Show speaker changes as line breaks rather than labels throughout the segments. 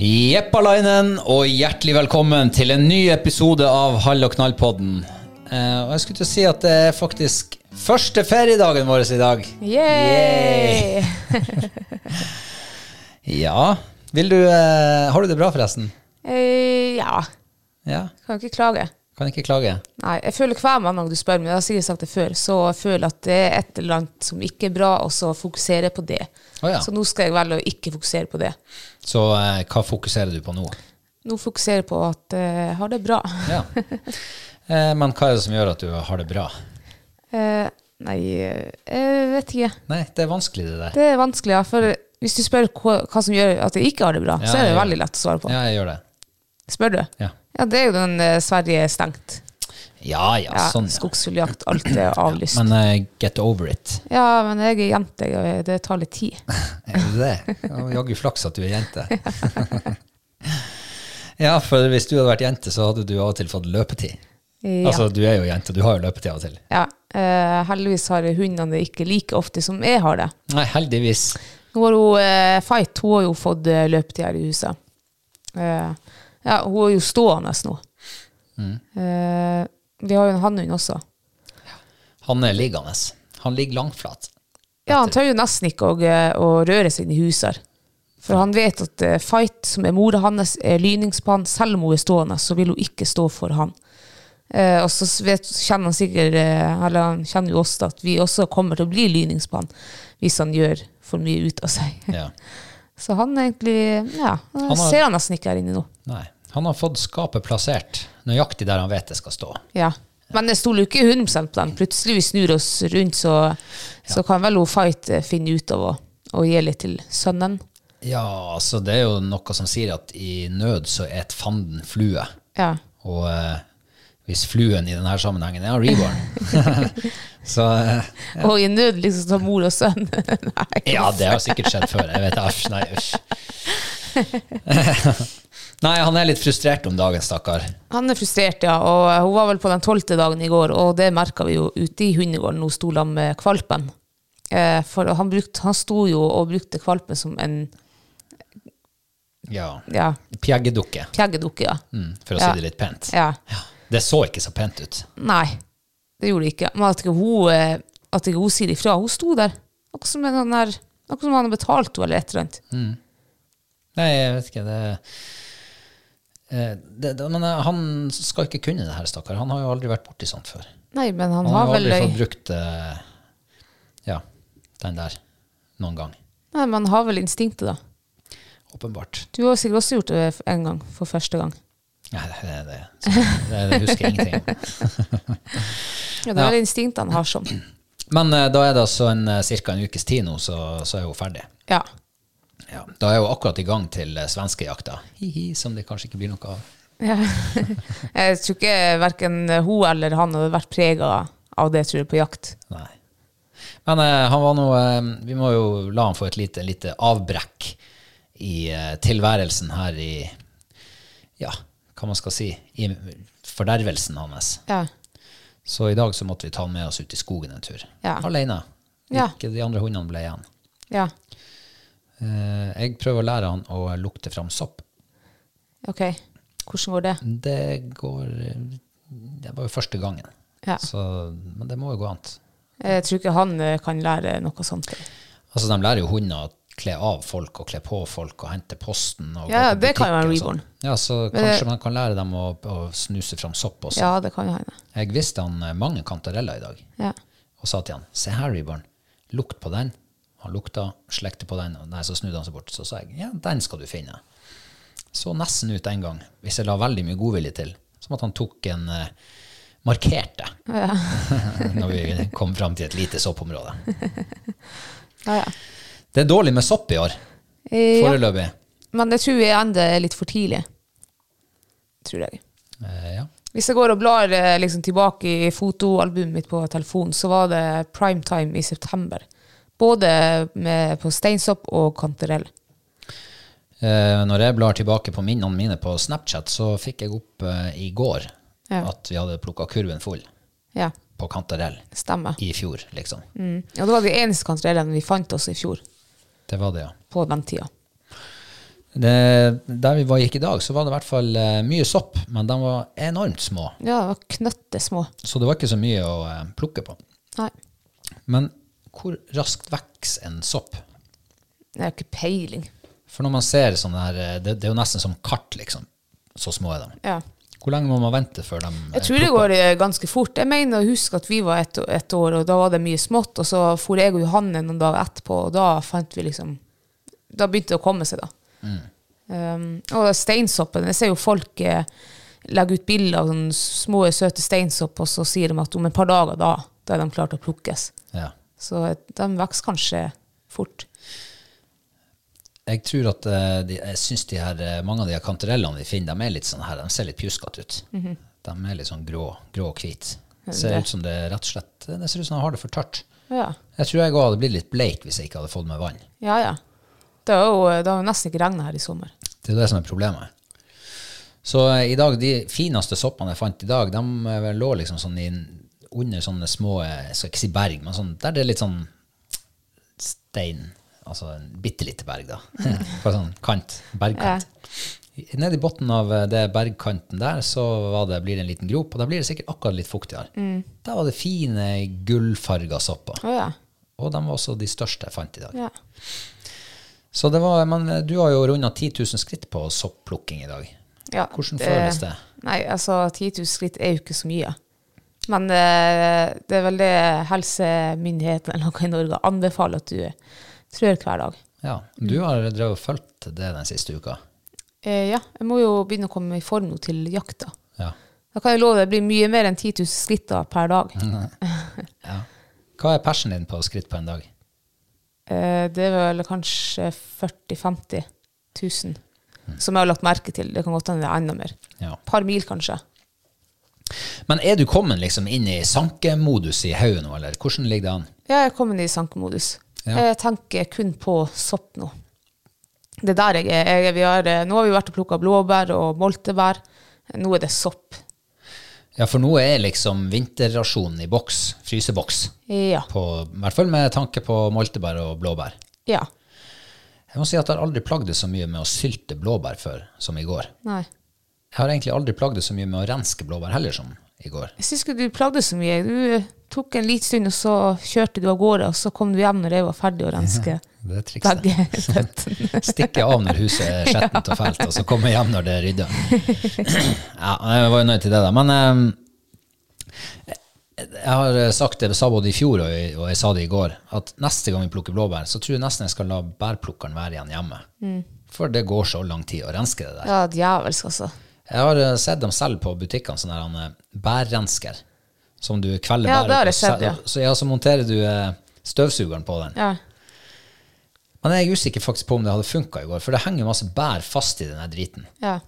Jeppalainen, og hjertelig velkommen til en ny episode av Hall og knall-podden. Eh, og jeg skulle til å si at det er faktisk første feriedagen vår i dag.
Yay!
Ja. Vil du eh, Har du det bra, forresten?
Eh, ja,
Ja.
kan jo ikke klage.
Kan ikke klage.
Nei, jeg føler hver mandag du spør meg, jeg har sikkert sagt det før, så jeg føler at det er et eller annet som ikke er bra, og så fokuserer jeg på det.
Å ja.
Så nå skal jeg velge å ikke fokusere på det.
Så eh, hva fokuserer du på nå?
Nå fokuserer jeg på at eh, jeg har det bra.
Ja. Eh, men hva er det som gjør at du har det bra?
Eh, nei, eh, jeg vet ikke.
Nei, det er vanskelig, det der.
Det er vanskelig, ja, for hvis du spør hva, hva som gjør at jeg ikke har det bra,
Ja,
så er det
ja.
veldig lett å svare på.
Ja, jeg gjør det.
Spør du?
Ja.
Ja, det er jo den eh, Sverige er stengt.
Ja ja,
Ja,
sånn, ja.
Skogsfugljakt, alt er avlyst.
Men eh, get over it.
Ja, men jeg er jente, og det tar litt tid.
Er du det? Ja, Jaggu flaks at du er jente. Ja, for hvis du hadde vært jente, så hadde du av og til fått løpetid.
Ja.
Altså, du er jo jente, du har jo løpetid av og til.
Ja, eh, heldigvis har hundene det ikke like ofte som jeg har det.
Nei, heldigvis.
Nå har hun eh, Fight hun har jo fått eh, løpetid her i huset. Eh, ja, hun er jo stående nå. Eh, vi har jo en hannhund også.
Han er liggende. Han ligger langflat.
Ja, han tør jo nesten ikke å, eh, å røre seg inn i huset. her. For han vet at eh, Fight, som er mora hans, er lynings på han. Selv om hun er stående, så vil hun ikke stå for han. Eh, og så s- vet, kjenner han sikkert eh, Eller han kjenner jo også at vi også kommer til å bli lynings på han hvis han gjør for mye ut av seg.
Ja.
Så han er egentlig Ja, jeg
har-
ser han nesten ikke her inne nå.
Nei. Han har fått skapet plassert nøyaktig der han vet det skal stå.
Ja. Men jeg stoler jo ikke 100 på den. Plutselig vi snur oss rundt, så, så kan vel hun Fight eh, finne ut av å, å gi litt til sønnen.
Ja, altså, det er jo noe som sier at i nød så et fanden flue.
Ja.
Og eh, hvis fluen i denne sammenhengen er reborn, så eh,
Og i nød liksom som mor og sønn. Nei.
Ja, det har sikkert skjedd før. Jeg vet æsj, nei, æsj. nei, han er litt frustrert om dagen, stakkar.
Han er frustrert, ja. Og eh, hun var vel på den tolvte dagen i går, og det merka vi jo ute i hundegården. Hun sto sammen med kvalpen. Eh, for han, brukte, han sto jo og brukte kvalpen som en
Ja.
ja,
Pjeggedukke,
pjeggedukke. Ja.
mm, for å
Ja.
si det litt pent.
ja.
Ja. Det så ikke så pent ut.
Nei, det gjorde det ikke. Men at ikke hun, eh, at ikke hun sier ifra. Hun sto der. Akkurat som, en sånn der, akkurat som han har betalt henne eller et eller annet.
Nei, jeg vet ikke, det eh, det, det, men eh, han skal ikke kunne det her, stakkar. Han har jo aldri vært borti sånt før.
Nei, men han,
Han har
har
jo
vel
aldri fått brukt eh, ja, den der noen gang.
Nei, man har vel instinktet, da.
Åpenbart.
Du har sikkert også gjort det en gang, for første gang.
Nei, det, det, det, det, det husker jeg ingenting om.
Ja, det er vel instinktene har som.
Men eh, da er det altså en, eh, cirka en ukes tid nå, så, så er hun ferdig.
Ja.
Ja. Da er hun akkurat i gang til eh, svenskejakta, Hihi, som det kanskje ikke blir noe av.
Jeg tror ikke verken hun eller han hadde vært prega av det, tror jeg, på jakt.
Nei. Men eh, han var nå eh, Vi må jo la han få et lite, lite avbrekk i eh, tilværelsen her i Ja, hva man skal si I fordervelsen hans.
Ja.
Så i dag så måtte vi ta han med oss ut i skogen en tur.
Ja.
Alene.
Ja.
Ikke de andre hundene ble igjen.
ja.
Eh, jeg prøver å lære han å lukte fram sopp.
Ok. Hvordan går det?
Det går Det var jo første gangen.
Ja.
Så, men det må jo gå an.
Jeg tror ikke han eh, kan lære noe sånt.
Altså, de lærer jo hunder å kle av folk og kle på folk og hente posten. Og
Ja,
gå på
det kan jo være
butikker og
reborn.
sånn. Ja, så kanskje man kan lære dem å, å snuse fram sopp også.
Ja, det kan jo hende.
Jeg visste han eh, mange kantareller i dag,
Ja.
og sa til han, se her, reborn, lukt på den. Han lukta, slekte på den, og nei, så snudde han seg bort. Så sa jeg, ja, den skal du finne. Så nesten ut en gang, hvis jeg la veldig mye godvilje til, som at han tok en eh, markerte, når vi kom frem til et lite soppområde.
Ja, ja.
Det er dårlig med sopp i år,
Eh, ja.
foreløpig.
Men jeg tror vi ennå er litt for tidlig. Tror jeg.
Eh, ja.
Hvis jeg går og blar eh, liksom, tilbake i fotoalbumet mitt på telefonen, så var det primetime i september. Både med, på steinsopp og kantarell.
Eh, når jeg blar tilbake på minnene mine på Snapchat, så fikk jeg opp eh, i går
Ja.
at vi hadde plukka kurven full
Ja,
på kantarell
stemmer.
i fjor, liksom.
Mm. Og det var de eneste kantarellene vi fant også i fjor,
Det var det, ja.
på den tida.
Det, der vi var, gikk i dag, så var det i hvert fall eh, mye sopp, men de var enormt små.
Ja, det var knøttesmå.
Så det var ikke så mye å eh, plukke på.
Nei,
Men hvor raskt vokser en sopp?
det er jo ikke peiling.
For når man ser sånn her eh, det, det er jo nesten som kart, liksom. Så små er de.
Ja.
Hvor lenge må man vente før de eh,
Jeg tror det
plukker?
går eh, ganske fort. Jeg mener å huske at vi var et, et år, og da var det mye smått. Og så for jeg og Johanne noen dager etterpå, og da fant vi liksom Da begynte det å komme seg, da. Um, og steinsoppen Jeg ser jo folk eh, legge ut bilder av sånne små, søte steinsopp, og så sier de at om et par dager, da, da er de klare til å plukkes.
Ja.
Så eh, de vokser kanskje fort.
Jeg tror at eh, de, jeg synes de her, eh, mange av de her kantarellene vi finner, de er litt sånn her, de ser litt pjuskete ut. De er litt sånn grå, grå og hvit. Ser ut som det er rett og slett, det ser ut som de har det for tørt.
Ja,
Jeg tror jeg også hadde blitt litt bleik hvis jeg ikke hadde fått med vann.
ja. ja. Det har jo, det har jo nesten ikke regna her i sommer.
Det er jo det som er problemet. Så eh, i dag, de fineste soppene jeg fant i dag, de eh, lå liksom sånn i, under sånne små, eh, jeg skal ikke si berg, men sånn, der det er litt sånn stein, altså en bittelite berg da, på sånn kant, bergkant. Nede i botten av eh, det bergkanten der, så var det, blir det en liten grop, og da blir det sikkert akkurat litt fuktigere. Der var det fine gullfarga sopper,
Å ja.
og de var også de største jeg fant i dag.
ja.
Så det var, men eh, du har jo rundet 10 000 skritt på sopplukking i dag.
Ja,
Hvordan føles det?
Nei, altså 10 000 skritt er jo ikke så mye. Men eh, det er vel det helsemyndighetene eller noe i Norge anbefaler at du trør hver dag.
Ja, du har drevet og fulgt det den siste uka.
Eh, ja, jeg må jo begynne å komme i form nå til jakta.
Ja.
Da kan jeg love det blir mye mer enn 10 000 skritt da per dag.
Mm. Hva er persen din på skritt på en dag?
Eh, det er vel kanskje 40 000-50 000 som jeg har lagt merke til. Det kan godt hende det er enda mer.
Ja.
Par mil, kanskje.
Men er du kommet liksom inn i sankemodus i hodet nå, eller hvordan ligger det an?
Ja, jeg er kommet i sankemodus.
Ja.
Jeg tenker kun på sopp nå. Det er der jeg er. Jeg, vi har, eh, nå har vi vært og plukka blåbær og moltebær. Nå er det sopp.
Ja, for nå er liksom vinterrasjonen i boks, fryseboks,
Ja.
på, i hvert fall med tanke på moltebær og blåbær.
ja.
Jeg må si at jeg har aldri plagd det så mye med å sylte blåbær før som i går.
Nei.
Jeg har egentlig aldri plagd det så mye med å renske blåbær heller som i går.
Jeg syns ikke du plagde så mye. Du eh, tok en liten stund, og så kjørte du av gårde, og så kom du hjem når jeg var ferdig å renske
Det er trikset.
begge føttene.
Stikke av når huset er skjettent og fælt, og så komme hjem når det er rydda. Ja, jeg var jo nødt til det, da. Men eh, ehm, Jeg har eh, sagt det sa både i fjor og, i- og jeg sa det i går, at neste gang vi plukker blåbær, så tror jeg nesten jeg skal la bærplukkeren være igjen hjemme.
Mm.
For det går så lang tid å renske det der.
Ja, djevelsk, altså.
Jeg har eh, sett dem selv på butikkene, sånne der, han, eh, bærrensker, som du kvelder
Ja, det har
bæret
jeg
på,
sett, ja.
så- Så, ja, så monterer du eh, støvsugeren på den.
Ja.
Men jeg er usikker faktisk på om det hadde funka i går, for det henger masse bær fast i den her driten.
ja.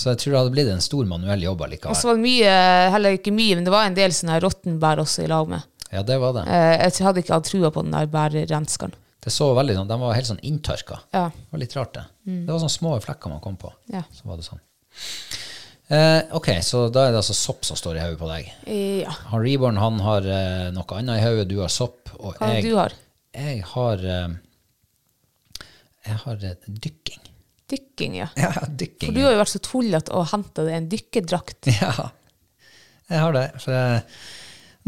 Så jeg tror det hadde blitt en stor manuell jobb
Og så
allikevel.
var det mye, heller ikke mye, men det var en del sånne her råttenbær også i lag med.
Ja, det var det.
Eh, Jeg hadde ikke hatt trua på den der bærrenskeren.
Det så veldig sånn, De var helt sånn inntørka.
Ja. Mm.
Det var litt rart, det. Det var sånne små flekker man kom på.
Ja.
Så var det sånn. Eh, ok, så da er det altså sopp som står i hodet på deg.
ja.
Han Reborn han har eh, noe annet i hodet, du har sopp, og
Hva
jeg,
du har
jeg har eh, Jeg har eh, dykking.
Dykking, ja.
Ja, dykking.
For du har jo vært så tullete og henta deg en dykkerdrakt.
Ja, jeg har det. For jeg,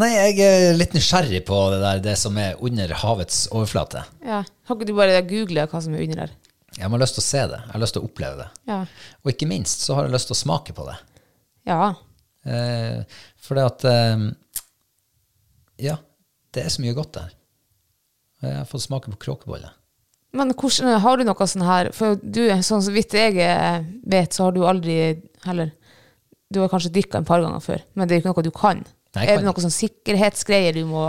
nei, jeg er litt nysgjerrig på det der, det som er under havets overflate.
Ja. Har ikke du bare googla hva som er under der?
Jeg har lyst til å se det, jeg har lyst til å oppleve det.
Ja.
Og ikke minst så har jeg lyst til å smake på det.
ja.
Eh, for det at eh, Ja, det er så mye godt der. Jeg har fått smake på kråkeboller.
Men hvordan, har du noe sånn her For du, sånn så vidt jeg eh, vet, så har du aldri heller Du har kanskje dykka en par ganger før, men det er jo ikke noe du kan.
Nei, jeg
er
kan
det noen sånn sikkerhetsgreier du må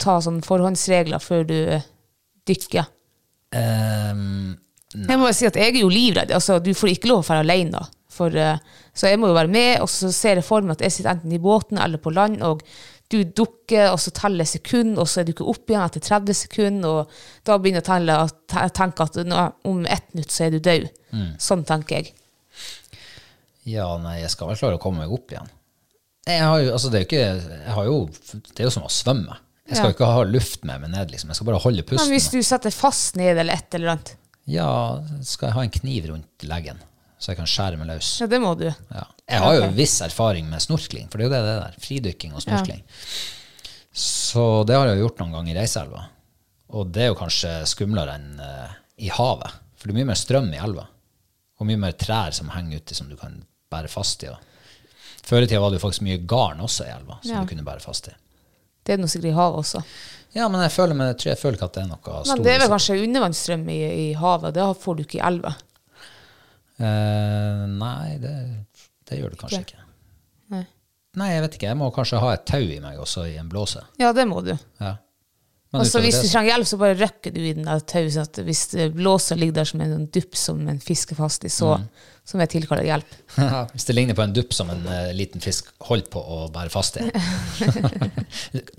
ta sånn forhåndsregler før du dykker?
Eh,
Jeg må jo si at jeg er jo livredd. Altså, du får ikke lov å være alene. Da. For, eh, så jeg må jo være med, og så ser jeg for meg at jeg sitter enten i båten eller på land, og du dukker, og så teller sekund, og så er du ikke opp igjen etter 30 sekunder, og da begynner jeg å telle og te- tenke at nå, om ett minutt så er du død. Sånn tenker jeg.
ja, nei, jeg skal vel klare å komme meg opp igjen. Jeg har jo, altså det, er jo ikke, jeg har jo, det er jo som å svømme. Jeg skal
Ja.
jo ikke ha luft med meg ned, liksom. Jeg skal bare holde pusten.
Men hvis du setter fast ned eller et eller annet,
Ja, skal jeg ha en kniv rundt leggen, så jeg kan skjære meg løs.
ja, det må du.
Ja. Jeg har jo viss erfaring med snorkling, for det er jo det det der. Fridykking og snorkling. Så det har jeg jo gjort noen ganger i Reiseelva. Og det er jo kanskje skumlere enn eh, i havet, for det er mye mer strøm i elva. Og mye mer trær som henger uti som du kan bære fast i. og Før i tida var det jo faktisk mye garn også i elva som
Ja.
du kunne bære fast i.
Det er noe sikkert i havet også.
Ja, men jeg føler, meg- jeg tror jeg føler ikke at det er noe stor
Men det er vel
risiko.
kanskje undervannsstrøm i, i havet, det får du ikke i elva.
Eh, nei, det, det gjør du kanskje
Ikke?
ikke. Nei, jeg vet ikke. Jeg må kanskje ha et tau i meg også i en blåse.
Ja, det må du.
Ja. Men
Altså,
utover
hvis du
det, så-
trenger hjelp, så bare røkker du i den der tauet. Sånn at hvis det blåser ligger der som en sånn dupp som en fisker fast i, så
Mm.
så må jeg tilkalle hjelp.
Ja, hvis det ligner på en dupp som en eh, liten fisk holdt på å bære fast i.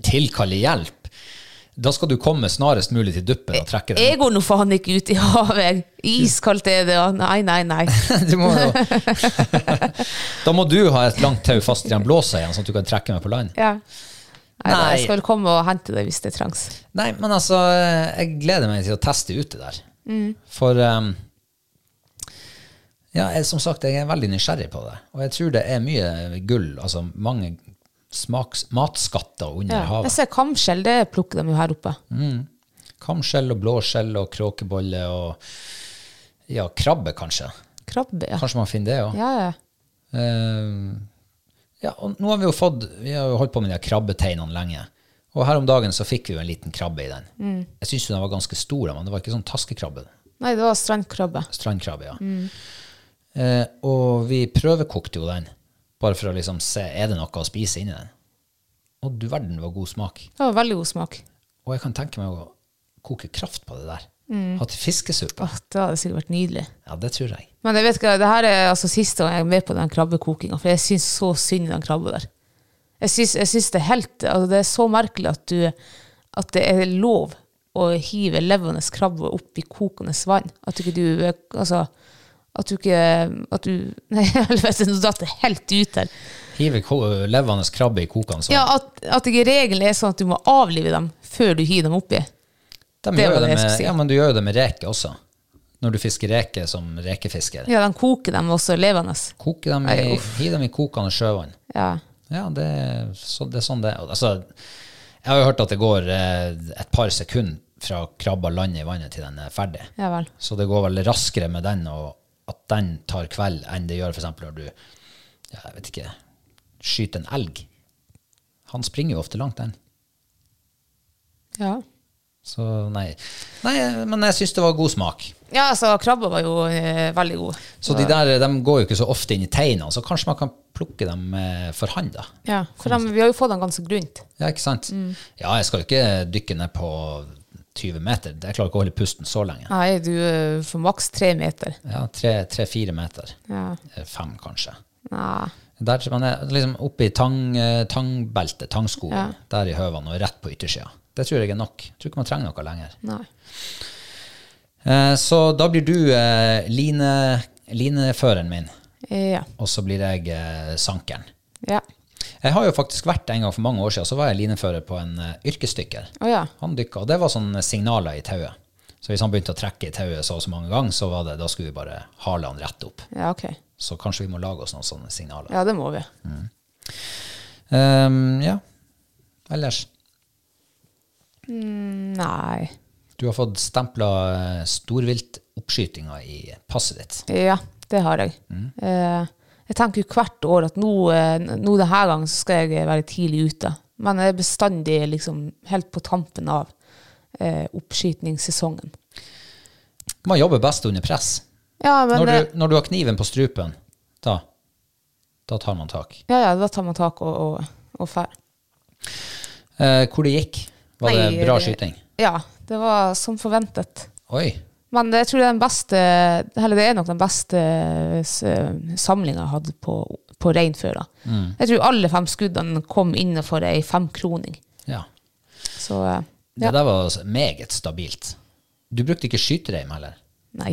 Tilkalle hjelp! Da skal du komme snarest mulig til duppen og trekke den.
Jeg går nå faen ikke ut i havet. jeg. Iskaldt er det, og nei, nei, nei.
Du må jo. da må du ha et langt tau fast i en blåse igjen, sånn at du kan trekke meg på land.
Ja. Nei, da,
Nei.
jeg skal vel komme og hente deg hvis det trengs.
Nei, men altså, jeg gleder meg til å teste ut det der.
Mm.
For um, ja, jeg, som sagt, jeg er veldig nysgjerrig på det. Og jeg tror det er mye gull, altså mange smaks, matskatter under
Ja. Jeg
havet.
ser kamskjell, det plukker de jo her oppe.
Mm.
altså-
Kamskjell og blåskjell og kråkebolle og ja, krabbe kanskje.
Krabbe, ja.
Kanskje man finner det òg. Ja.
Ja, ja.
ja, og nå har vi jo fått Vi har jo holdt på med de her krabbeteinene lenge. Og her om dagen så fikk vi jo en liten krabbe i den.
Mm.
Jeg syns den var ganske stor, men det var ikke sånn taskekrabbe.
Nei, det var strandkrabbe.
Strandkrabbe, ja.
Mm.
Eh, og vi prøvekokte jo den, bare for å liksom se er det noe å spise inni den. Og du verden, det var god smak.
Det var veldig god smak.
Og jeg kan tenke meg å koke kraft på det der.
Mm.
Ha til fiskesuppe.
Åh, det hadde sikkert vært nydelig.
Ja, det tror jeg.
Men jeg vet ikke, det her er altså siste gang jeg er med på den krabbekokinga, for jeg syns så synd i den krabba der. Jeg syns, jeg syns det er helt altså Det er så merkelig at, du, at det er lov å hive levende krabbe opp i kokende vann. At ikke du eh, Altså at du ikke At du Nei, helvete, nå datt det helt ut her.
Hive ko levende krabbe i kokene. sånn.
Ja, at, at ikke regelen er sånn at du må avlive dem før du hiver dem oppi.
De
det
gjør
var
jo
det jeg
med,
skulle si.
Ja, men du gjør jo det med reke også. Når du fisker reke som rekefisker.
Ja, de koker dem også levende.
Koke dem
Nei,
i,
uff.
hiv dem i kokende sjøvann.
Ja.
Ja, det, er så, det er sånn det er. Altså, jeg har jo hørt at det går eh, et par sekunder fra krabba lander i vannet til den er ferdig.
Ja vel.
Så det går vel raskere med den, og at den tar kveld, enn det gjør f.eks. når du ja, jeg vet ikke, skyter en elg. Han springer jo ofte langt, den.
Ja.
Så nei. nei men jeg syns det var god smak.
ja, altså, krabba var jo eh, veldig god.
Så de der de går jo ikke så ofte inn i teinene, så kanskje man kan plukke dem eh, for hånd, da.
Ja, for dem- vi har jo fått den ganske grunt.
Ja, ikke sant? Ja, jeg skal jo ikke dykke ned på 20 meter. Jeg klarer ikke å holde pusten så lenge.
Nei, du eh, får maks tre meter.
Ja, Tre-fire meter.
Ja.
Eh, Fem, kanskje.
Nei.
Der, man er liksom oppe i tang, eh, tangbeltet, tangskogen, der i høvene og rett på yttersida. Det tror jeg er nok. Jeg tror ikke man trenger noe lenger.
Nei.
Eh, så da blir du eh, line, lineføreren min,
Eh, Ja.
og så blir jeg eh, sankeren.
Ja.
Jeg har jo faktisk vært en gang for mange år siden, så var jeg linefører på en eh, yrkesdykker.
Å ja.
Han dykka, og det var sånne signaler i tauet. Så hvis han begynte å trekke i tauet så og så mange ganger, så var det, da skulle vi bare hale han rett opp.
Ja, ok.
Så kanskje vi må lage oss noen sånne signaler.
Ja, det må vi.
Ehm, ja. Ellers,
Nei.
du har fått stempla storviltoppskytinga i passet ditt.
Ja, det har jeg.
Mm.
Eh, jeg tenker jo hvert år at nå, eh, nå denne gangen så skal jeg være tidlig ute. Men jeg er bestandig liksom helt på tampen av eh, oppskytningssesongen.
Man jobber best under press.
Ja, men eh,
Når
det-
du, når du har kniven på strupen, da, da tar man tak.
ja, ja, da tar man tak og, og, og fer.
Eh, hvor det gikk? Var
Nei, eh,
det bra
det-
skyting?
Ja, det var som forventet.
Oi.
Men jeg tror det er den beste, eller det er nok den beste s- samlingen jeg hadde på, på reinfør. da. Jeg tror alle fem skuddene kom innenfor ei femkroning.
Ja.
Så eh,
Det
ja.
der var meget stabilt. Du brukte ikke skytereim heller?
Nei.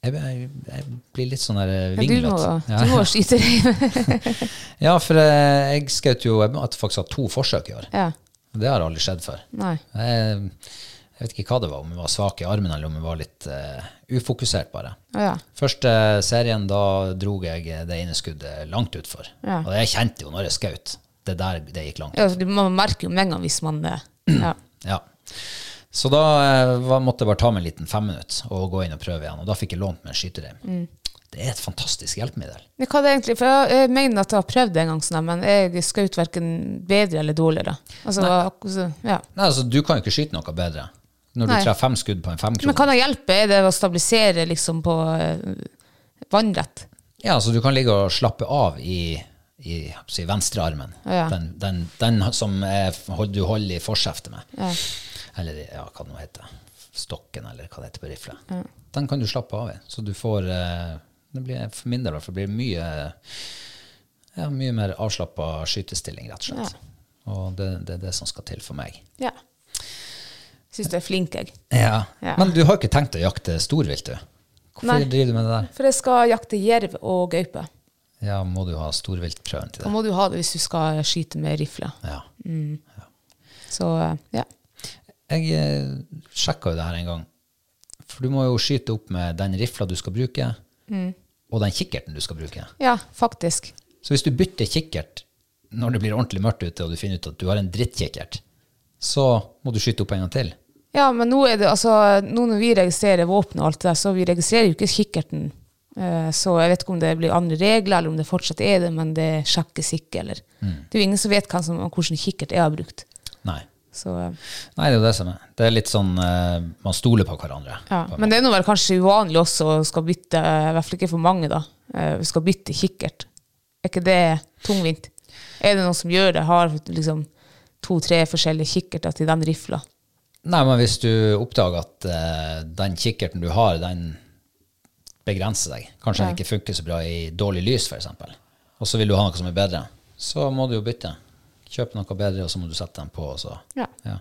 Jeg, jeg, jeg blir litt sånn der
Men Du må,
vinglete.
du må skyte rein.
Ja, for eh, jeg skjøt jo Jeg må- at faktisk har to forsøk i år.
ja.
Det har aldri skjedd før.
Nei.
Jeg, jeg vet ikke hva det var, om jeg var svak i armen eller om jeg var litt eh, ufokusert, bare.
Å ja.
Første eh, serien, da dro jeg eh, det ene skuddet langt utfor.
Ja.
Og jeg kjente jo når jeg skjøt. Det der det gikk langt.
ja for du- man merker jo med en gang hvis man eh, ja.
Ja. Så da eh, var, måtte jeg bare ta meg en liten femminutt og gå inn og prøve igjen. Og da fikk jeg lånt meg en skytereim.
Mm.
Det er et fantastisk hjelpemiddel.
Men hva er det egentlig? For jeg, jeg mener at jeg har prøvd det en gang, sånn, her, men jeg skjøt verken bedre eller dårligere. Altså, så, ja.
Nei, altså, du kan jo ikke skyte noe bedre når
Nei.
du treffer fem skudd på en
Men
femkrone.
kan det hjelpe? Er det å stabilisere liksom på eh, vannrett?
Ja, så du kan ligge og slappe av i, i jeg holdt på å si, venstrearmen.
Ja.
Den, den, den som er, hold- du holder i forskjeftet med. Eller i- ja, hva det nå heter. Stokken, eller hva det heter på rifle. Den kan du slappe av i. Så du får eh, det blir, For min del i hvert fall blir det mye ja, mye mer avslappa skytestilling, rett og slett. Og det, det er det som skal til for meg.
Ja. Syns du er flink, jeg.
Ja.
Ja.
Men du har ikke tenkt å jakte storvilt, du? Hvorfor
Nei.
driver du med det der?
For jeg skal jakte jerv og gaupe.
Ja, Må du ha storviltprøven til
Da
det?
må du ha det hvis du skal skyte med rifle.
Ja.
Så eh, ja.
Jeg eh, sjekka jo det her en gang. For du må jo skyte opp med den rifla du skal bruke, og den kikkerten du skal bruke.
Ja, faktisk.
Så hvis du bytter kikkert når det blir ordentlig mørkt ute, og du finner ut at du har en drittkikkert, så må du skyte opp en gang til.
Ja, men nå er det altså Nå når vi registrerer våpen og alt det der, så vi registrerer jo ikke kikkerten. Eh, Så jeg vet ikke om det blir andre regler, eller om det fortsatt er det, men det sjekkes ikke, eller Det er jo ingen som vet hvem som, hvordan kikkert jeg har brukt.
Nei.
Så eh,
Nei, det er jo det som er. Det er litt sånn eh, Man stoler på hverandre.
Ja,
på en
men det er nå vel kanskje uvanlig også å skal bytte, i hvert fall ikke for mange, da. eh, Skal bytte kikkert. Er ikke det tungvint? Er det noen som gjør det? Har liksom to-tre forskjellige kikkerter til den rifla?
Nei, men hvis du oppdager at eh, den kikkerten du har, den begrenser deg. Kanskje den ikke funker så bra i dårlig lys, f.eks. Og så vil du ha noe som er bedre. Så må du jo bytte. Kjøpe noe bedre, og så må du sette den på. Og så.
Ja.
Ja.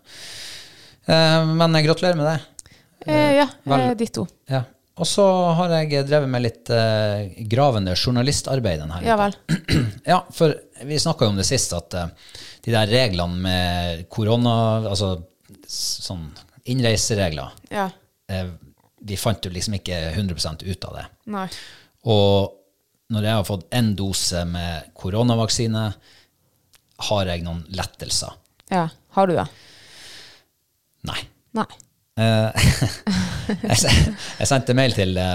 Eh, men jeg gratulerer med det.
Eh, ja,
vel-
eh, de to.
Ja. Og så har jeg drevet med litt eh, gravende journalistarbeid denne
Ja
uka.
vel.
Ja, for vi snakka jo om det sist, at eh, de der reglene med korona, altså s- sånn innreiseregler
Ja.
eh, vi fant jo liksom ikke 100 ut av det.
Nei.
Og når jeg har fått én dose med koronavaksine, har jeg noen lettelser?
Ja. Har du det?
Nei.
Nei.
Eh, jeg, se- jeg sendte mail til eh,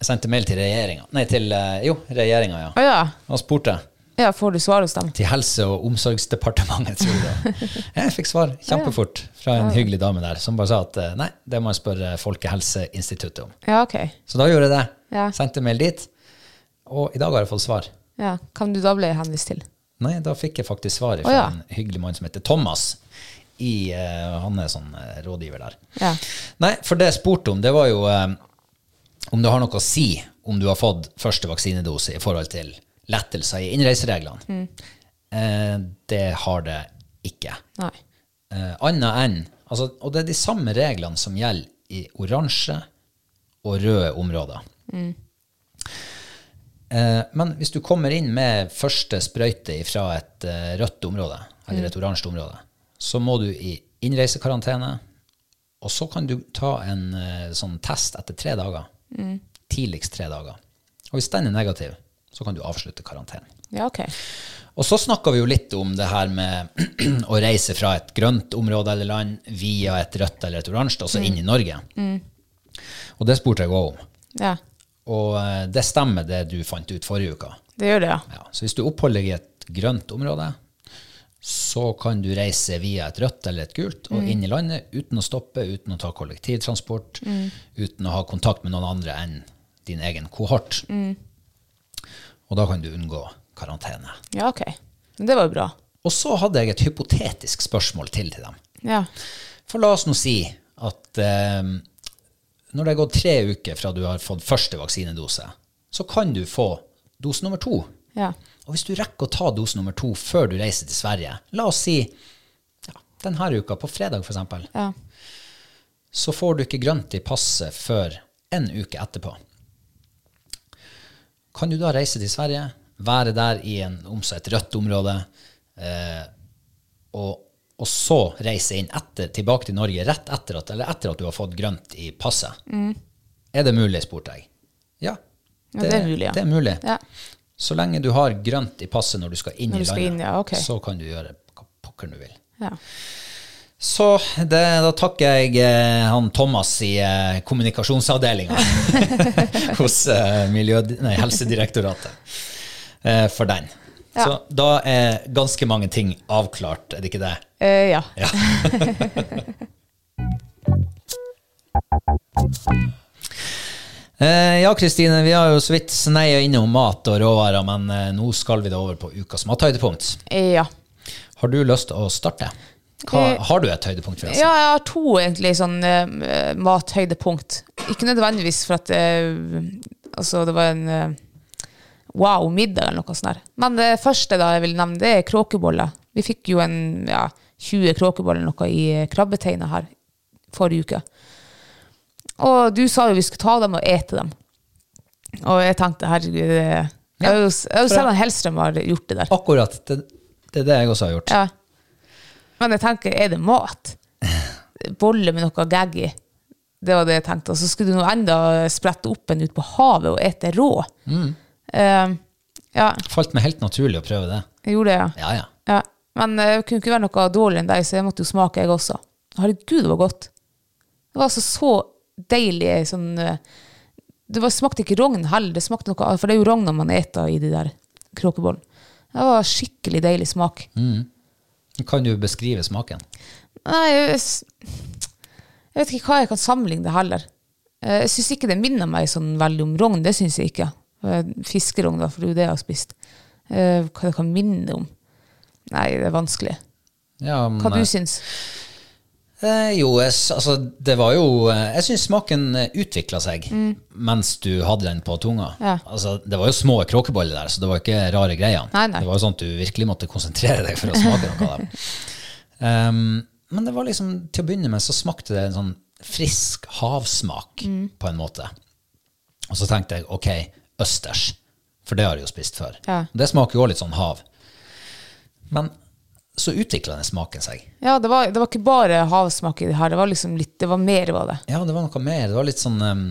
jeg sendte mail til regjeringa Nei, til eh, jo, regjeringa,
Å
ja.
ja.
Og spurte
Ja, får du svar hos dem?
Til Helse- og omsorgsdepartementet, tror jeg. det var. Jeg fikk svar kjempefort fra en hyggelig dame der, som bare sa at eh, nei, det må jeg spørre Folkehelseinstituttet om.
Ja, ok.
Så da gjorde jeg det.
Ja.
Sendte mail dit. Og i dag har jeg fått svar.
Ja. Hvem du da ble henvist til?
Nei, da fikk jeg faktisk svar fra
Å, ja.
en hyggelig mann som heter Thomas. I, eh, han er sånn eh, rådgiver der.
Ja.
Nei, for det jeg spurte om, det var jo eh, om det har noe å si om du har fått første vaksinedose i forhold til lettelser i innreisereglene.
Mm.
Eh, det har det ikke.
Nei.
Eh, annet enn altså, Og det er de samme reglene som gjelder i oransje og røde områder. Eh, men hvis du kommer inn med første sprøyte fra et eh, rødt område, eller et oransje område, så må du i innreisekarantene, og så kan du ta en eh, sånn test etter tre dager. Tidligst tre dager. Og hvis den er negativ, så kan du avslutte karantenen.
Ja, ok.
Og så snakka vi jo litt om det her med å reise fra et grønt område eller land via et rødt eller et oransje, og så inn i Norge. Og det spurte jeg òg om.
Ja.
Og eh, det stemmer, det du fant ut forrige uke.
Det gjør det, ja.
Ja, så hvis du oppholder deg i et grønt område, så kan du reise via et rødt eller et gult og inn i landet uten å stoppe, uten å ta kollektivtransport, uten å ha kontakt med noen andre enn din egen kohort. Og da kan du unngå karantene.
Ja, ok. Men det var jo bra.
Og så hadde jeg et hypotetisk spørsmål til til dem.
Ja.
For la oss nå si at eh, når det har gått tre uker fra du har fått første vaksinedose, så kan du få dose nummer to.
Ja.
Og hvis du rekker å ta dose nummer to før du reiser til Sverige, la oss si ja, denne uka, på fredag f.eks.,
Ja.
så får du ikke grønt i passet før en uke etterpå. Kan du da reise til Sverige, være der i en, om så et rødt område, eh, og, og så reise inn etter, tilbake til Norge rett etter at, eller etter at du har fått grønt i passet? Er det mulig, spurte jeg. Ja,
Mm. Ja, det er mulig, ja.
Det er mulig.
Ja.
Så lenge du har grønt i passet når du skal inn i
Når du skal
landet,
inn, ja, ok.
så kan du gjøre hva pokker du vil.
Ja.
Så det, da takker jeg eh, han Thomas i eh, kommunikasjonsavdelinga hos eh, Miljø, nei, Helsedirektoratet eh, for den.
Ja.
Så da er ganske mange ting avklart, er det ikke det?
Eh, ja.
Ja. Eh, Ja, Kristine, vi har jo så vidt sneia innom mat og råvarer, men eh, nå skal vi da over på ukas mathøydepunkt.
Eh, ja.
Har du lyst til å starte? Hva,
Eh,
har du et høydepunkt? forresten?
Ja, jeg har to egentlig sånn eh, mathøydepunkt. Ikke nødvendigvis for at eh, Altså, det var en eh, wow middag eller noe sånt der. Men det første da jeg vil nevne, det er kråkeboller. Vi fikk jo en ja, 20 kråkeboller eller noe i eh, krabbeteina her forrige uke. Og du sa jo vi skulle ta dem og ete dem. Og jeg tenkte herregud det- Jeg har jo s- jeg har jo
for-
sett at Hellstrøm har gjort det der.
Akkurat. Det, det er det jeg også har gjort.
Ja. Men jeg tenker, er det mat? Bolle med noe gagg i. Det var det jeg tenkte. Og så skulle du nå enda sprette opp en ut på havet og ete rå. Eh, ja,
Falt meg helt naturlig å prøve det.
jeg gjorde det, ja.
Ja, ja.
ja. Men eh, det kunne ikke være noe dårligere enn deg, så jeg måtte jo smake, jeg også. Herregud, det var godt. Det var altså så deilig sånn eh, Det var, smakte ikke rogn heller, det smakte noe, for det er jo rogn når man eter i de der kråkebollen. Det var skikkelig deilig smak.
Kan du beskrive smaken?
Nei, jeg, s- jeg vet ikke hva jeg kan sammenligne det heller. Eh, Jeg syns ikke det minner meg sånn veldig om rogn, det syns jeg ikke. Eh, Fiskerogn, da, for det er jo det jeg har spist. Eh, Hva det kan minne om? Nei, det er vanskelig.
Ja, men,
Hva
eh,
du syns?
Eh, jo, jeg, s- altså, det var jo eh, Jeg syns smaken utvikla seg mens du hadde den på tunga.
Mm. Ja.
Altså, det var jo små kråkeboller der, så det var ikke rare greiene.
Nei, nei.
Det var jo sånn at du virkelig måtte konsentrere deg for å smake noe av dem. Ehm, men det var liksom, til å begynne med så smakte det en sånn frisk havsmak,
Mm.
på en måte. Og så tenkte jeg ok, østers. For det har jeg jo spist før.
Ja.
Det smaker jo også litt sånn hav. Men så utvikla den smaken seg.
Ja, det var, det var ikke bare havsmak i det her, det var liksom litt, det var mer var det.
Ja, det var noe mer. Det var litt sånn ehm,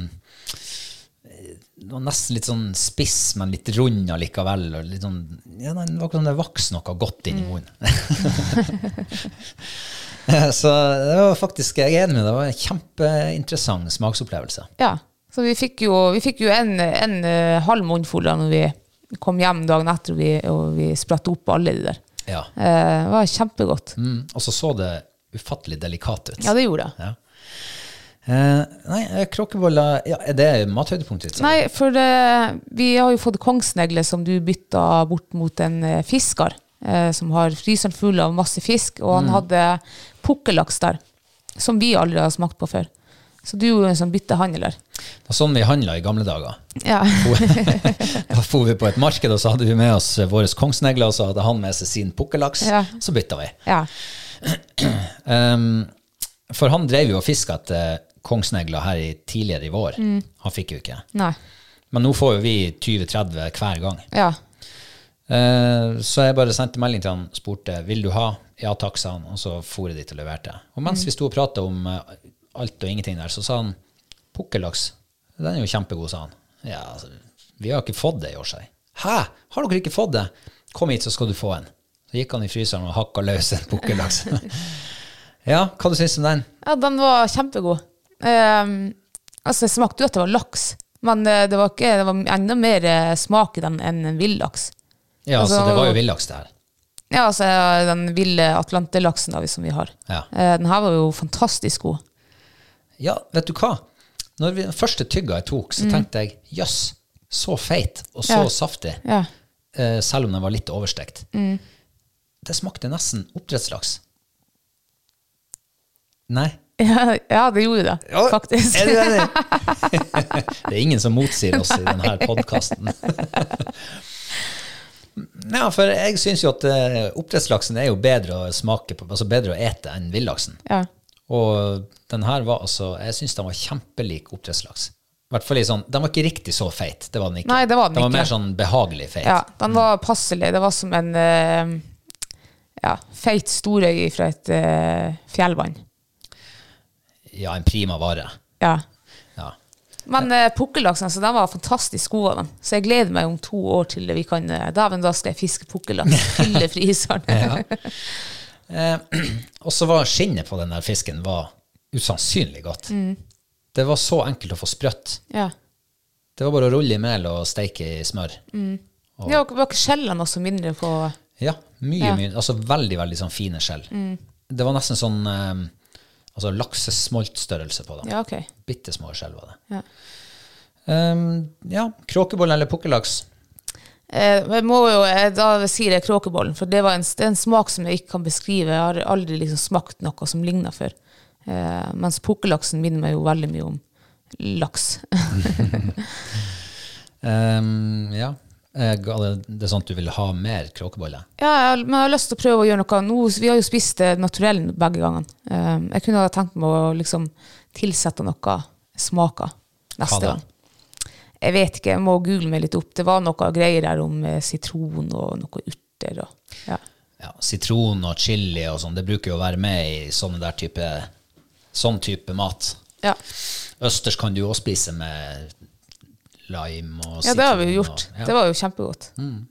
Det var nesten litt sånn spiss, men litt rund allikevel. Og litt sånn, ja, nei, det var akkurat som det vokste noe godt
Mm.
inn i munnen. Så det var faktisk jeg er enig med deg. Det var en kjempeinteressant smaksopplevelse.
Ja, så vi fikk jo, vi fikk jo en, en eh, halv munnfull da når vi kom hjem dagen etter, og vi, og vi spratt opp alle de der.
Ja.
Eh, det var kjempegodt.
Mm, og så så det ufattelig delikat ut.
Ja, det gjorde jeg.
Ja. Eh, nei, eh, kråkeboller ja, Er det mathøydepunktet ditt?
Nei, for eh, vi har jo fått kongsnegle som du bytta bort mot en eh, fisker, eh, som har fryseren full av masse fisk, og han hadde pukkellaks der, som vi aldri har smakt på før. Så du er jo en sånn byttehandler.
Det var sånn vi handla i gamle dager.
Ja.
Da for vi på et marked, og så hadde vi med oss eh, våre kongsnegler, og så hadde han med seg sin pukkellaks.
Ja.
Så bytta vi.
ja.
Ehm, for han drev jo og fiska etter kongsnegler her i, tidligere i vår. Han fikk jo ikke.
Nei.
Men nå får jo vi 20-30 hver gang.
Ja.
Eh, så jeg bare sendte melding til han spurte vil du ha. Ja takk, sa han, og så for jeg dit og leverte. Og
Mm.
mens vi sto og prata om eh, alt og ingenting der, så sa han pukkellaks, den er jo kjempegod, sa han. Ja, altså, vi har ikke fått det i år, sa jeg. Hæ, har dere ikke fått det? Kom hit, så skal du få en. Så gikk han i fryseren og hakka løs en pukkellaks. ja, hva du syns du om den?
Ja, den var kjempegod. Ehm, altså, det smakte jo at det var laks, men eh, det var, ikke, det var enda mer eh, smak i den enn en villaks.
Ja,
Altså,
så det var jo villaks, det her.
Ja, altså eh, den ville atlantelaksen da, som vi har.
Ja.
Eh, den her var jo fantastisk god.
Ja, vet du hva? Når vi, den første tygga jeg tok, så tenkte jeg jøss, så feit og så
Mm. Ja.
saftig,
Ja.
eh, selv om den var litt overstekt.
Mm.
Det smakte nesten oppdrettslaks. Nei.
Ja, ja, det gjorde det, faktisk.
Er du enig? det er ingen som motsier oss i denne podkasten. Ja, for jeg syns jo at eh, oppdrettslaksen er jo bedre å smake på, altså bedre å ete enn villaksen.
Ja.
Og den her var altså Jeg syns den var kjempelik oppdrettslaks. I hvert fall litt sånn, Den var ikke riktig så feit. Det var den ikke.
Nei, det var den ikke.
mer sånn behagelig feit.
ja, den var passelig. Det var som en eh, ja, feit storøy fra et eh, fjellvann.
Ja, en prima vare.
Ja.
Ja.
Men eh, pukkellaksen altså, den var fantastisk god av dem. Så jeg gleder meg om to år til vi kan eh, Dæven, da skal jeg fiske pukkellaks. Fylle fryseren.
Og så var skinnet på den der fisken var usannsynlig godt.
Mm.
Det var så enkelt å få sprøtt.
ja.
Det var bare å rulle i mel og steike i smør.
Det var, var ikke skjellene også mindre på
Ja, mye, mye. Altså veldig, veldig sånn fine skjell.
Mm.
Det var nesten sånn eh, altså laksesmoltstørrelse på dem.
Ja, ok.
Bitte små skjell var det.
Ja.
Ehm, ja, kråkebolle eller pukkellaks?
Eh, men jeg må jo, eh, da sier jeg kråkebollen, for det var en, det er en smak som jeg ikke kan beskrive. Jeg har aldri liksom smakt noe som ligner før. Eh, mens pukkellaksen minner meg jo veldig mye om laks.
Ehm, ja. Eh, ga- Det er sånn at du vil ha mer kråkebolle?
Ja, jeg har- men jeg har lyst til å prøve å gjøre noe. Nå, vi har jo spist det naturell begge gangene. Um, jeg kunne ha tenkt meg å liksom tilsette noe smaker
Hva
neste
da?
gang. Jeg vet ikke, jeg må google meg litt opp. Det var noe greier der om eh, sitron og noe urter. Og, ja.
Ja, sitron og chili og sånn, det bruker jo å være med i sånne der type, sånn type mat.
Ja.
Østers kan du jo også spise med lime og sitron.
ja, det har vi jo gjort.
og- ja.
Det var jo kjempegodt.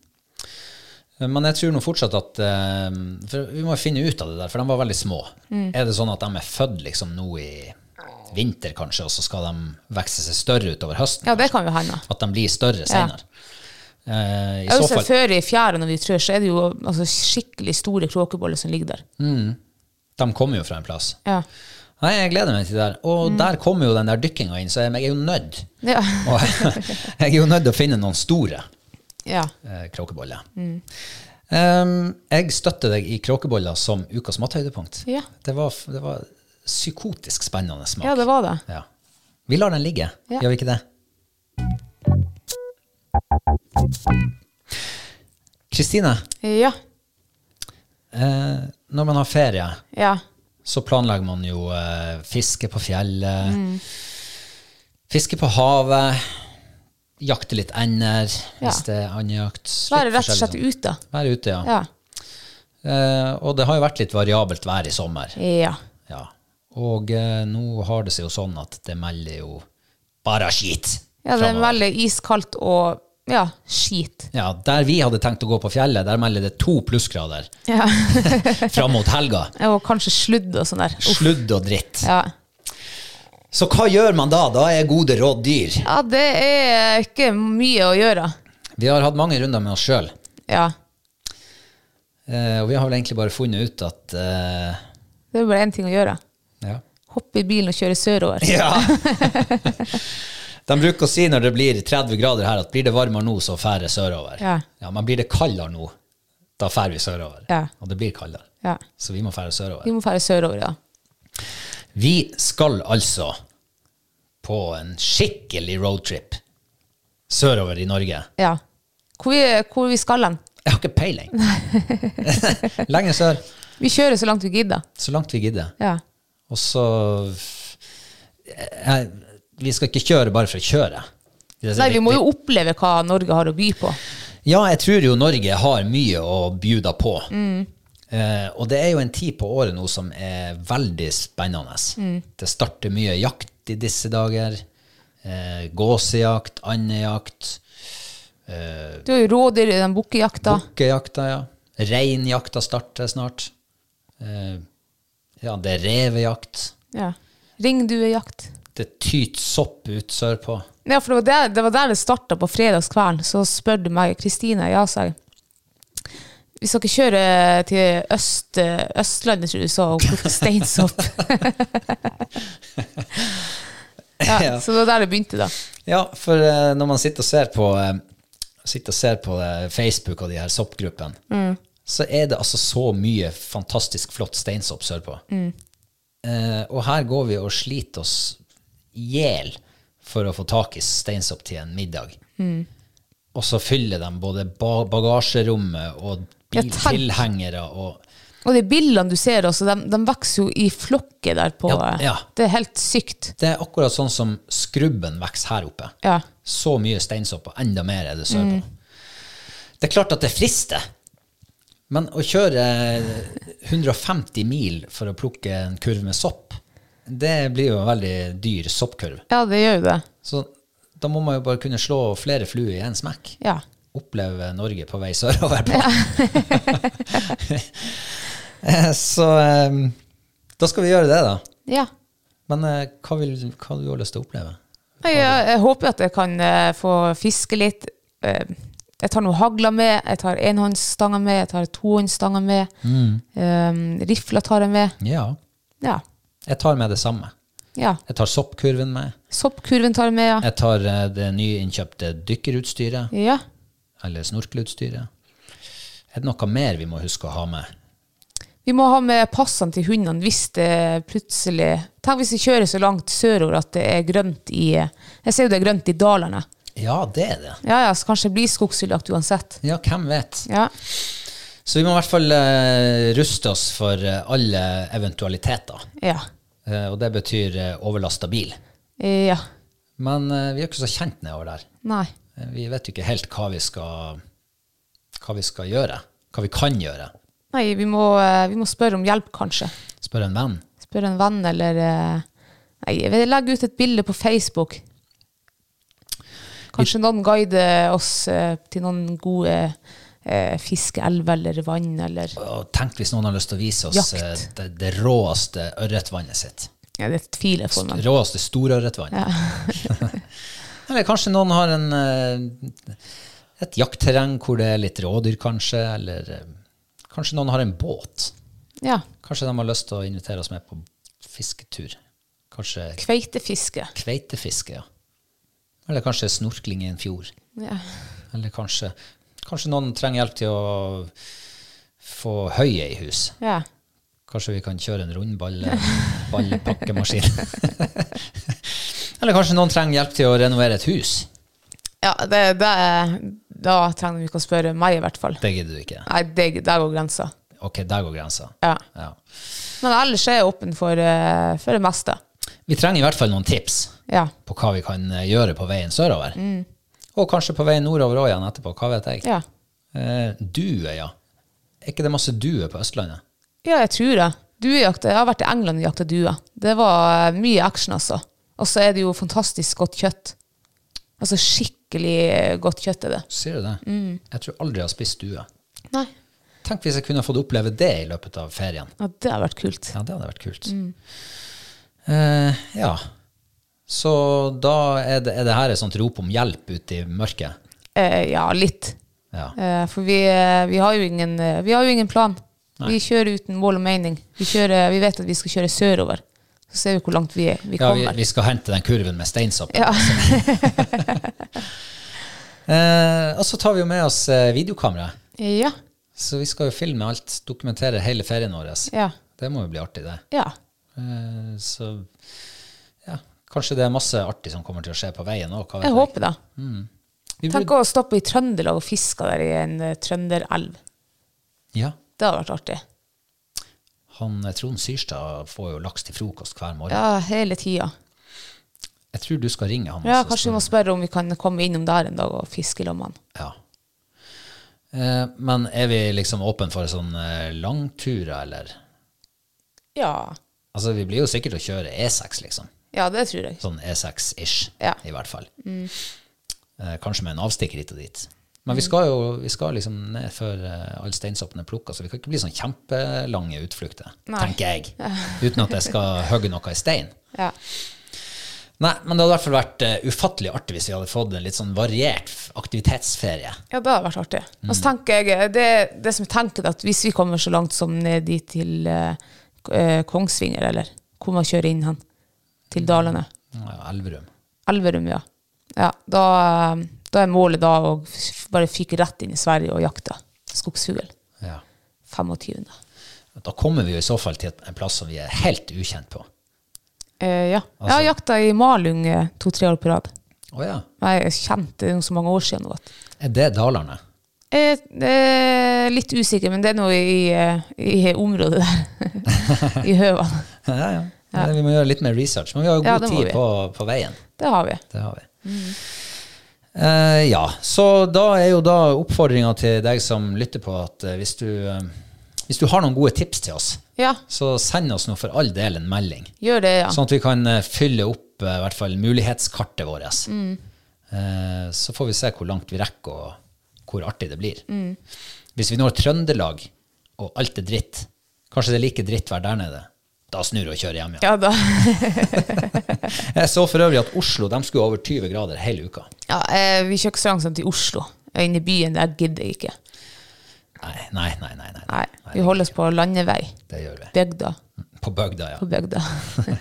Men jeg tror nå fortsatt at eh, for Vi må jo finne ut av det der, for de var veldig små.
Mm.
Er det sånn at de er født liksom nå i vinter, kanskje, og så skal de vokse seg større utover høsten?
Ja, det kan jo hende.
At de blir større senere. Eh, I
Jeg har
så
jo sett
fall,
før i fjæra når vi trør, så er det jo altså, skikkelig store kråkeboller som ligger der.
de kommer jo fra en plass.
Ja.
Nei, jeg gleder meg til det der. Og
Mm.
der kommer jo den der dykkinga inn, så jeg, jeg er jo nødt.
Ja.
Og jeg er jo nødt til å finne noen store
ja.
eh, kråkeboller.
Mm.
Um, jeg støtter deg i kråkeboller som ukas mathøydepunkt.
Ja.
Det, var, det var psykotisk spennende smak.
ja, det var det.
Ja. Vi lar den ligge,
Ja.
gjør vi ikke det? Kristine,
Ja.
eh, når man har ferie,
Ja.
så planlegger man jo eh, fiske på fjellet,
Mm.
fiske på havet, jakte litt ender hvis
Ja.
det er andjakt. litt
Være rett og
forskjellig
slett
sånn.
ute.
Være ute, ja.
Ja.
Eh, og det har jo vært litt variabelt vær i sommer.
ja.
Ja. Og eh, nå har det seg jo sånn at det melder jo bare skit.
Ja, det er
fremover.
veldig iskaldt og ja, skit.
Ja, der vi hadde tenkt å gå på fjellet, der melder det to plussgrader
Ja.
fram mot helga.
Og kanskje sludd og sånn der. Uff.
Sludd og dritt.
Ja.
Så hva gjør man da? Da er gode råd dyr.
ja, det er ikke mye å gjøre.
Vi har hatt mange runder med oss sjøl,
Ja.
eh, og vi har vel egentlig bare funnet ut at eh,
Det er bare én ting å gjøre.
ja.
Hoppe i bilen og kjøre sørover.
ja. De bruker å si når det blir 30 grader her, at blir det varmere nå, så færre sørover.
Ja.
Men blir det kaldere nå, da færre vi sørover.
Ja.
Og det blir kaldere.
Ja.
Så vi må færre sørover.
Vi må fære sørover, ja.
Vi skal altså på en skikkelig roadtrip sørover i Norge.
ja. Hvor, vi, hvor vi skal hen?
Jeg har ikke peiling. Lenger sør.
Vi kjører så langt vi gidder.
Så langt vi gidder.
Ja.
Og så eh, jeg, Vi skal ikke kjøre bare for å kjøre. Det er så
Nei, vi må
viktig.
jo oppleve hva Norge har å by på.
Ja, jeg tror jo Norge har mye å bjuda på.
Mm.
Eh, og det er jo en tid på året nå som er veldig spennende.
Mm.
Det starter mye jakt i disse dager. Eh, gåsejakt, andejakt,
Du har jo rådyr i den bukkejakta.
bukkejakta, ja. Reinjakta starter snart. Eh, ja, det er revejakt.
Ja. Ringduejakt.
Det tyter sopp ut sørpå.
Ja, for det var der det, var der det starta på fredagskvelden. Så spør du meg, Kristine, ja, sa jeg. Vi skal ikke kjøre til øst, Østlandet, tror jeg du sa, og plukke steinsopp. ja, så det var der det begynte, da.
Ja, for eh, når man sitter og ser på, eh, sitter og ser på eh, Facebook og de her soppgruppene, så er det altså så mye fantastisk flott steinsopp sørpå. Eh, og her går vi og sliter oss i hjel for å få tak i steinsopp til en middag. Og så fyller de både ba bagasjerommet og
Ja,
bil-
tenk.
tilhengere og
Og de bildene du ser også, de, de vokser jo i flokker der på
Ja,
eh,
ja.
Det er helt sykt.
Det er akkurat sånn som skrubben vokser her oppe.
Ja.
Så mye steinsopp, og enda mer er det sørpå. Det er klart at det frister, men å kjøre 150 mil for å plukke en kurv med sopp, det blir jo en veldig dyr soppkurv.
Ja, det gjør jo det.
Så da må man jo bare kunne slå flere fluer i én smekk.
Ja.
Oppleve Norge på vei sørover på. Eh, Så eh, da skal vi gjøre det, da.
ja.
Men eh, hva, vil, hva har du lyst til å oppleve?
Jeg, jeg, jeg håper at jeg kan eh, få fiske litt. Eh, jeg tar noe hagla med, jeg tar enhåndsstanger med, jeg tar tohåndsstanger med. Eh, rifla tar jeg med.
Ja.
Ja.
Jeg tar med det samme.
ja.
Jeg tar soppkurven med.
Soppkurven tar jeg med, ja.
Jeg tar eh, det nyinnkjøpte dykkerutstyret,
ja.
eller snorkelutstyret. Er det noe mer vi må huske å ha med?
Vi må ha med passene til hundene hvis det plutselig Tenk hvis vi kjører så langt sørover at det er grønt i Jeg ser jo det er grønt i dalene.
Ja, det er det.
Ja, ja, så kanskje det blir skogsvillakt uansett.
Ja, hvem vet?
Ja.
Så vi må i hvert fall eh, ruste oss for eh, alle eventualiteter.
Ja.
Eh, og det betyr uh, overlasta bil.
Eh, ja.
Men eh, vi er jo ikke så kjent nedover der.
Nei.
Eh, vi vet jo ikke helt hva vi skal, hva vi skal gjøre. Hva vi kan gjøre.
Nei, vi må, eh, vi må spørre om hjelp, kanskje.
Spør en venn.
Spørre en venn, eller eh, Nei, jeg vil legge ut et bilde på Facebook. Kanskje noen guider oss eh, til noen gode eh, fiskeelver eller vann, eller
Og tenk hvis noen har lyst til å vise oss
Jakt.
eh, det, det råeste ørretvannet sitt.
Ja, det tviler jeg for, men
Råeste storørretvann. Eller kanskje noen har en, eh, et jaktterreng hvor det er litt rådyr, kanskje. Eller eh, kanskje noen har en båt.
ja.
Kanskje de har lyst til å invitere oss med på fisketur. Kanskje
Kveitefiske.
kveitefiske, ja. Eller kanskje snorkling i en fjord.
Ja.
Eller kanskje, kanskje noen trenger hjelp til å få høye i hus.
ja.
Kanskje vi kan kjøre en eh, rundballpakkemaskin. Eller kanskje noen trenger hjelp til å renovere et hus.
ja det, det, da trenger vi ikke å spørre meg, i hvert fall.
Det gidder du ikke.
Nei, det, der går grensa.
Ok, der går grensa.
Ja.
Ja.
Men ellers er jeg åpen for, eh, for det meste.
Vi trenger i hvert fall noen tips
Ja.
på hva vi kan eh, gjøre på veien sørover. Og kanskje på veien nordover òg igjen etterpå. Hva vet jeg.
ja.
Eh, due, ja. Er ikke det masse duer på Østlandet?
Ja, jeg tror det. Duejakt, jeg har vært i England og jakta duer. Det var eh, mye action, altså. Og så er det jo fantastisk godt kjøtt. Altså skikkelig eh, godt kjøtt er det.
Sier du det? Jeg tror aldri jeg har spist due.
Nei.
Tenk hvis jeg kunne fått oppleve det i løpet av ferien.
Ja, det har vært kult.
Ja, det hadde vært kult.
Mm.
Eh, ja. Så da er det, er det her et sånt rop om hjelp ute i mørket.
Eh, ja, litt.
Ja.
Eh, for vi, eh, vi, har jo ingen, eh, vi har jo ingen plan. Vi kjører uten mål og mening. Vi, kjører, vi vet at vi skal kjøre sørover. Så ser vi hvor langt vi, vi
Ja, vi,
kommer.
vi skal hente den kurven med steinsopp.
Ja.
Eh, og så tar vi jo med oss eh, videokamera.
ja.
Så vi skal jo filme alt, dokumentere hele ferien vår.
Ja.
Det må jo bli artig, det.
ja.
Eh, så ja, kanskje det er masse artig som kommer til å skje på veien òg.
Jeg håper det.
Vi
Tenk å stoppe i Trøndelag og fiske der i en eh, trønderelv.
Ja.
Det hadde vært artig.
Han eh, Trond Syrstad får jo laks til frokost hver morgen.
Ja, hele tida.
Jeg tror du skal ringe han.
Ja,
og så
kanskje vi må
spørre-
spørre om vi kan komme innom der en dag og fiske i lag med han.
Ja. Eh, men er vi liksom åpne for sånne eh, langturer, eller?
Ja.
Altså, vi blir jo sikkert å kjøre E6, liksom.
ja, det tror jeg.
Sånn E6-ish,
Ja. Mm.
i hvert fall. Eh, kanskje med en avstikker hit og dit. Men vi skal jo vi skal liksom ned før eh, all steinsoppen er plukka, så vi kan ikke bli sånn kjempelange utflukter,
Nei.
tenker jeg. Uten at jeg skal hogge noe i stein.
Ja.
Nei, men det hadde i hvert fall vært eh, ufattelig artig hvis vi hadde fått en litt sånn variert f- aktivitetsferie.
Ja, det hadde vært artig. Og så tenker jeg, det, det som jeg tenker er at hvis vi kommer så langt som ned dit til eh, K- eh, Kongsvinger, eller hvor man kjører inn hen, til Dalane,
Ja, Elverum.
Elverum, ja. ja da, eh, da er målet da å f- bare fyke rett inn i Sverige og jakte skogsfugl.
Ja.
25.
Da kommer vi jo i så fall til et- en plass som vi er helt ukjent på.
Eh, ja. Jeg
Altså-
har jakta i Malung eh, to-tre år på rad.
Å ja.
Nei, jeg kjente det er jo så mange år siden. nå, vet du.
Er det Dalarne?
Eh, eh, litt usikker, men det er noe i, eh, i området der. I høvene.
Ja, ja. Men Vi må gjøre litt mer research. Men vi har jo
Ja,
god
det må
tid
vi.
på, på veien.
Det har vi.
Det har vi. Eh, ja, så da er jo da oppfordringa til deg som lytter på, at eh, hvis, du, eh, hvis du har noen gode tips til oss,
Ja,
så send oss nå for all del en melding.
gjør det, ja.
Sånn at vi kan eh, fylle opp eh, i hvert fall mulighetskartet vårt.
Mm.
Eh, så får vi se hvor langt vi rekker, og hvor artig det blir.
Mm.
Hvis vi når Trøndelag, og alt er dritt, kanskje det er like dritt vær der nede, da snur og kjører hjem igjen.
Ja, da.
Jeg så for øvrig at Oslo de skulle over 20 grader hele uka.
ja eh, vi kjører ikke så langt som til Oslo. Ja, Inne i byen, der gidder jeg ikke.
Nei, nei, nei. nei, nei.
Nei, vi holder oss på landevei.
Det gjør vi.
Bygda.
På bygda, ja.
På bygda.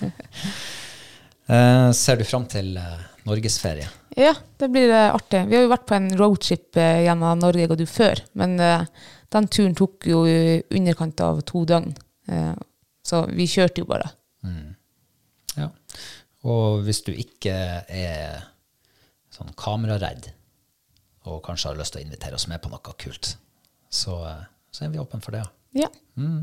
Eh, ser du fram til eh, norgesferie?
Ja, det blir eh, artig. Vi har jo vært på en roadtrip eh, gjennom Norge jeg og du før, men eh, den turen tok jo i underkant av to døgn. Eh, så vi kjørte jo bare.
Ja. Og hvis du ikke er sånn kameraredd, og kanskje har lyst til å invitere oss med på noe kult, så, eh, så er vi åpne for det. ja.
Ja.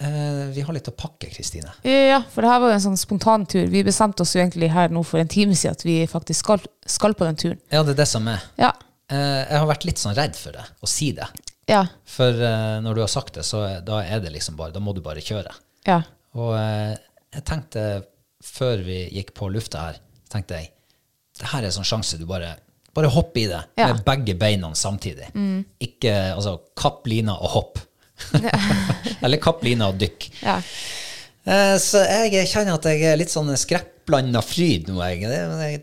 Eh, vi har litt å pakke, Kristine.
ja, for det her var jo en sånn spontantur. Vi bestemte oss jo egentlig her nå for en time siden at vi faktisk skal, skal på den turen.
Ja, det er det som er.
Ja.
Eh, jeg har vært litt sånn redd for det, å si det.
Ja.
For eh, når du har sagt det, så eh, da er det liksom bare, da må du bare kjøre.
Ja.
Og eh, jeg tenkte før vi gikk på lufta her, tenkte jeg det her er sånn sjanse du bare bare hopp i det
Ja.
med begge beina samtidig. Ikke altså kapp lina og hopp. Eller kapp lina og dykk.
ja.
Eh, så jeg kjenner at jeg er litt sånn skrekkblanda fryd nå, jeg. Det, men jeg